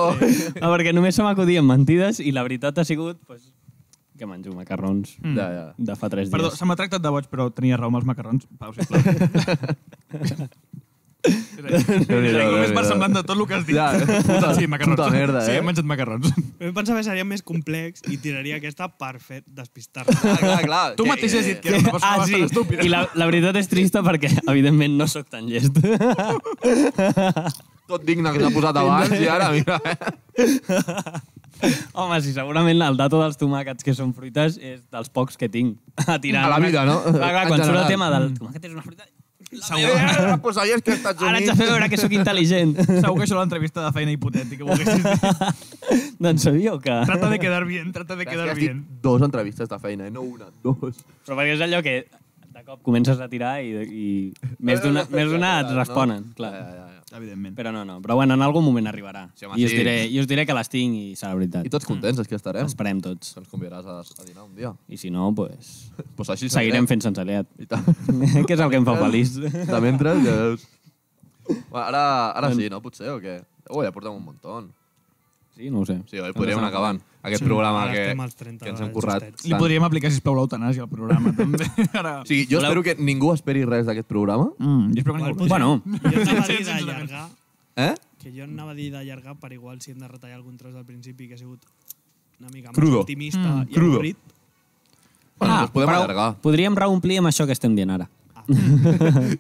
No, perquè només se m'acudien mentides i la veritat ha sigut pues, que menjo macarrons Ja, ja. de fa tres dies. Mm. Perdó, se m'ha tractat de boig, però tenia raó amb els macarrons. Pau, sisplau. És a dir, és a dir, Només per semblant de tot el que has dit. Ja, puta- sí, macarrons. puta merda, Sí, eh? he menjat macarrons. Però pensava que seria més complex i tiraria aquesta per fer despistar-me. Clar, clar, clar. Tu Que- mateix has dit que era una persona ah, sí. bastant estúpida. I la, la veritat és trista perquè, *laughs* evidentment, no sóc tan llest. *laughs* Tot digne que s'ha posat abans i ara, mira... eh. Home, sí, segurament el dato dels tomàquets que són fruites és dels pocs que tinc *laughs* a tirar. A la vida, *laughs* no? Clar, clar, En quan surt general. Mm. el tema del tomàquet és una fruita, Segur, Eh, pues ahí és que Estats ara ets a Units... fer veure que sóc intel·ligent. *laughs* segur que això era l'entrevista de feina hipotètica. ho haguessis dit. doncs sabíeu que... Trata de quedar bien, trata de És que quedar has dit bien. dos entrevistes de feina, eh? no una, dos. Però perquè és allò que de cop comences a tirar i, i més *laughs* d'una més d'una et responen, clar. Ja, ja, ja. Evidentment. Però no, no. Però bueno, en algun moment arribarà. Eh. Sí, Sí, home, I, us sí. diré, I us diré que les tinc i serà veritat. I tots contents, és que estarem. Esperem tots. Se'ns convidaràs a, a dinar un dia. I si no, pues, Pues així seguirem fent sense aliat. I tant. *laughs* que és el que em fa feliç. De mentre, ja veus. Va, ara, ara sí, no? Potser, o què? Ui, ja portem un muntó. Sí, no ho sé. Sí, oi? Podríem anar acabant aquest programa Ara que, estem als 30 que ens hem currat. justets. Li podríem aplicar, sisplau, l'eutanàsia al *laughs* programa, també. Ara... O sigui, jo espero que ningú esperi res d'aquest programa. Mm, jo espero que ningú... Bueno, *laughs* Jo anava a Sí, sí, dir sincerament. d'allargar, Eh? que jo anava a dir d'allargar per igual si hem de retallar algun tros al principi que ha sigut una mica més Crudo. optimista Mm, i crudo. avorrit. Bueno, ah, doncs podem però allargar. *laughs* Podríem reomplir amb això que estem dient ara.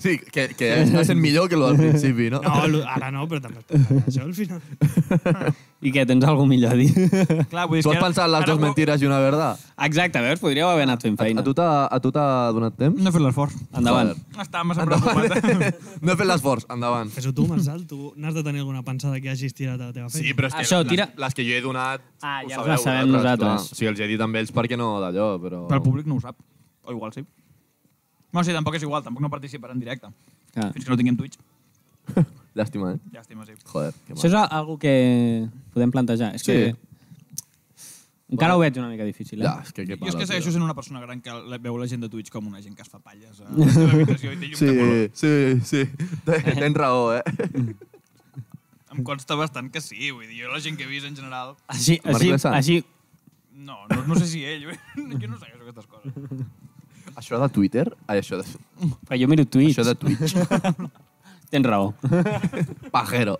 Sí, que, que està sent millor que el *laughs* del principi, no? No, lo- ara no, però també es pot fer això al final. I que tens alguna millor a dir. *laughs* *laughs* Clar, vull dir, Tu has és que ara- pensat les ara dues ho- mentires i una verdad? Exacte, veus? Podríeu haver anat fent A, a feina. tu t'ha a tu t'ha donat temps? No he fet l'esforç. Ah. Endavant. Joder. Estava massa Mm, preocupat. eh? *laughs* No he fet l'esforç, endavant. Fes-ho tu, Marçal, tu n'has de tenir alguna pensada que hagis tirat a la teva feina. però és que Això, les- tira. les que jo he donat... Ah, ho ja sabeu les sabem vosaltres, nosaltres. clar. O sigui, els he dit amb ells perquè no d'allò, però... Però el públic no ho sap. O igual sí. No, sí, tampoc és igual, tampoc no participarà en directe. Ah. Fins que no tinguem Twitch. Llàstima, eh? Llàstima, sí. Joder, que Això mal. és algo que podem plantejar. És que encara ho veig una mica difícil. Eh? Ja, és que què Jo és pala, que segueixo tio. sent una persona gran que la- veu la gent de Twitch com una gent que es fa *laughs* palles eh, a la seva habitació i té llum Sí, de color. sí, sí. Tens raó, eh? Em consta bastant que sí, vull dir, jo la gent que he vist en general... Així, Marc així, Lessant. així, No, no, no sé si ell, *laughs* jo no segueixo aquestes coses. Això de Twitter? Ai, això de, però jo miro tuits. això de *laughs* Twitch. Tens raó. *laughs* Pajero.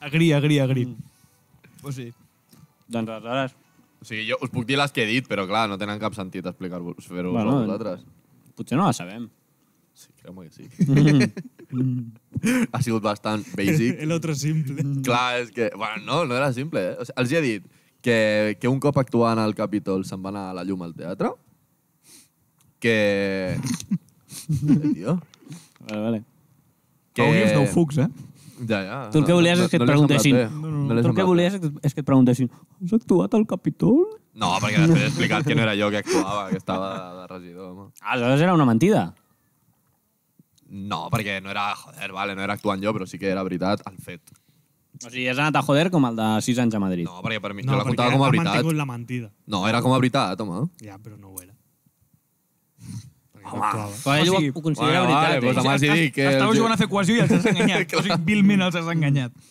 Agri, agri, agri. Mm. Pues sí. doncs aleshores, O sigui, jo us puc dir les que he dit, però clar, no tenen cap sentit explicar-vos, fer-vos bueno, Bueno, a vosaltres. potser no la sabem. Sí, creu que sí. Mm. *laughs* ha sigut bastant basic. El otro simple. Clar, és que... Bueno, no, no era simple, eh? O sigui, els hi he dit que, que un cop actuant al Capitol se'n va anar a la llum al teatre, que... *laughs* Eh, tio? Vale, vale. Que... Audios no fucs, eh? Ja, ja. Tu el que volies és que et li ha semblat preguntessin. bé. li ha tu el que semblat volies és que- és que et preguntessin has actuat al Capitol? bé. No, perquè després he explicat que no era jo que actuava, que estava de, de regidor, home. Aleshores era una mentida. No, perquè no era... Joder, vale, no era actuant jo, però sí que era veritat el fet. O sigui, has anat a joder com el de 6 anys a Madrid. No, perquè per mi... No, jo la perquè contava com a ha veritat. mantingut la mentida. No, era com a veritat, home. Ja, però no ho era. Perquè no actuava. Però ell O ho, sigui, ho considera bueno, vale, veritat. doncs eh? home, sí, dic que- Estàveu jugant a fer cohesió i *laughs* els has enganyat. o sigui, vilment els has enganyat.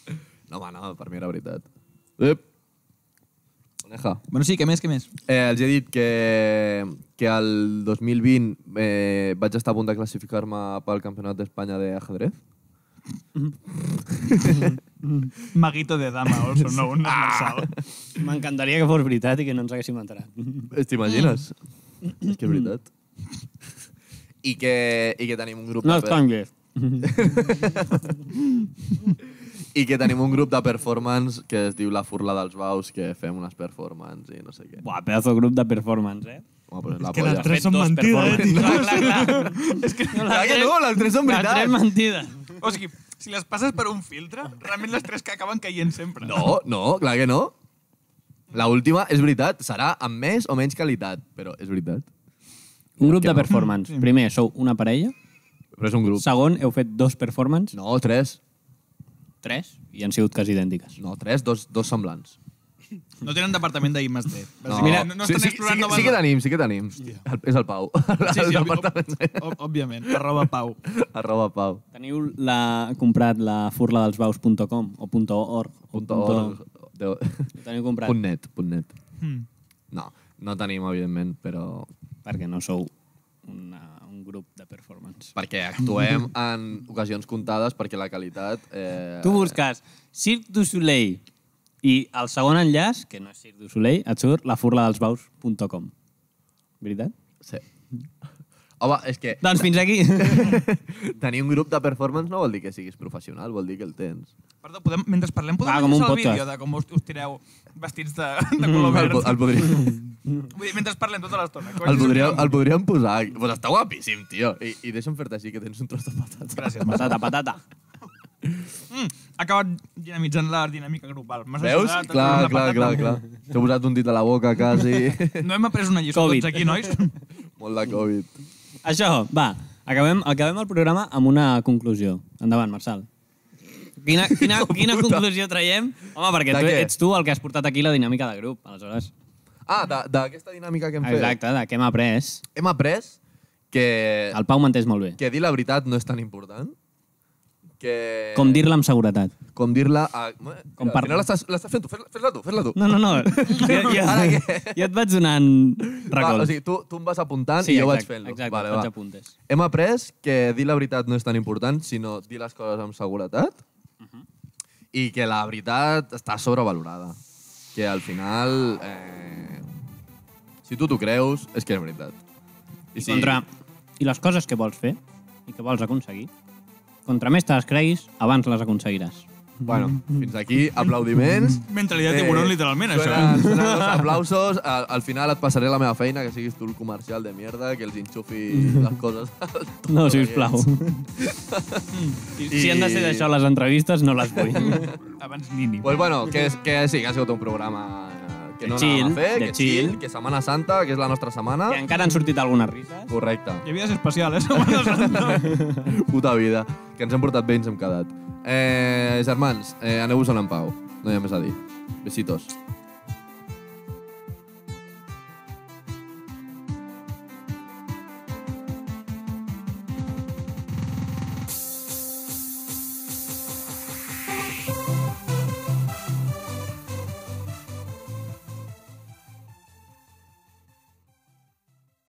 No, home, no, per mi era veritat. Ep. Oneja. Bueno, sí, que més, que més? Eh, els he dit que, que el 2020 eh, vaig estar a punt de classificar-me pel Campionat d'Espanya d'Ajedrez. Maguito de dama, also known as Marçal. M'encantaria que fos veritat i que no ens haguéssim enterat. Eh, T'imagines? Mm. És que és veritat. i que, i que tenim un grup No de els per- cangues. i que tenim un grup de performance que es diu La Furla dels Baus, que fem unes performances i no sé què. Buah, pedazo de grup de performance, eh? Home, però és la que les polla. tres són Dos mentida, eh, performance. tio. Clar, clar, clar. És que no, Clar que no, les tres són La tres veritats. mentida. O sigui, si les passes per un filtre, realment les tres que acaben caient sempre. No, no, clar que no. La última és veritat, serà amb més o menys qualitat, però és veritat. Un grup de performance. Primer, sou una parella. Però és un grup. Segon, heu fet dos performances. No, tres. Tres. I han sigut quasi idèntiques. No, tres, dos, dos semblants. No tenen departament de I+D. No, Mira, no, no estan sí, sí, explorant sí, noves... sí, que tenim, sí que tenim. El, és el Pau. *laughs* Sí, sí, el ob- departament. ob- òbviament. Arroba Pau. Arroba Pau. Teniu la, comprat la furladelsbaus.com o punto .org. o Punto punto- org. *laughs* Deu- Ho teniu comprat. Punt net, punt net. Mm. No, no tenim, evidentment, però Perquè no sou una, un grup de performance. perquè *laughs* actuem en ocasions comptades perquè la qualitat... Eh, Tu busques Cirque du Soleil i el segon enllaç, que no és Cirque du Soleil, et surt lafurladelsbaus.com. Veritat? Sí. Home, és que Doncs fins *laughs* aquí. tenir un grup de performance no vol dir que siguis professional, vol dir que el tens. Perdó, podem, mentre parlem, podem Va, ah, com un llançar el podcast. vídeo de com us, us tireu vestits de, de color Mm, El, verd. po- el, *laughs* podríem, Vull dir, mentre parlem tota l'estona. que el, vagi podríem, sortint. el podríem posar. Pues està guapíssim, tio. I, i deixa'm fer-te així, que tens un tros de patata. *laughs* Gràcies. patata, patata. Mm, ha acabat dinamitzant la dinàmica grupal. M'has Veus? ajudat a Clar, treure clar, la clar, patata. clar. T'he posat un dit a la boca, quasi. *laughs* No hem après una lliçó Covid. tots aquí, nois. Molt de Covid. Això, va. Acabem, acabem el programa amb una conclusió. Endavant, Marçal. Quina, *laughs* quina, quina conclusió traiem? Home, perquè De tu, què? ets tu el que has portat aquí la dinàmica de grup, aleshores. Ah, de- d'aquesta dinàmica que hem fet. Ah, Exacte, de què hem après. Hem après que, El Pau m'entès molt bé. que dir la veritat no és tan important. Que... Com dir-la amb seguretat. com dir-la... A... Mira, Com al parla. final l'estàs l'estàs fent tu, fes-la fes tu, fes-la tu. No, no, *laughs* no. Jo, jo, Ara què? jo et vaig donant Va, recolz. o sigui, tu, tu em vas apuntant Ah, i jo vaig fent-lo. Exacte, Vale, et faig va. apuntes. Hem après que dir la veritat no és tan important, sinó dir les coses amb seguretat Mhm. i que la veritat està sobrevalorada. Que al final, eh, si tu t'ho creus, és que és veritat. I, contra... I les coses que vols fer i que vols aconseguir, contra més te les creguis, abans les aconseguiràs. Bueno, Mhm. fins aquí, aplaudiments. Eh, Mentalitat tiburón, literalment, això. Suenen, suenen els aplausos. Al, al final et passaré la meva feina, que siguis tu el comercial de mierda, que els enxufi les *laughs* coses. No, sisplau. I... I- *laughs* Si han de ser d'això les entrevistes, no les vull. *laughs* Abans Nini. Pues bueno, que, és- que sí, que ha sigut un programa eh, que no anàvem De chill, a fer, de que chill, chill. que Setmana Santa, que és la nostra setmana. que encara han sortit algunes rises. Correcte. Hi havia de ser especial, eh? *laughs* Setmana Puta vida. Que ens hem portat bé i ens hem quedat. Eh, germans, eh, aneu-vos en pau. No hi ha més a dir. Besitos.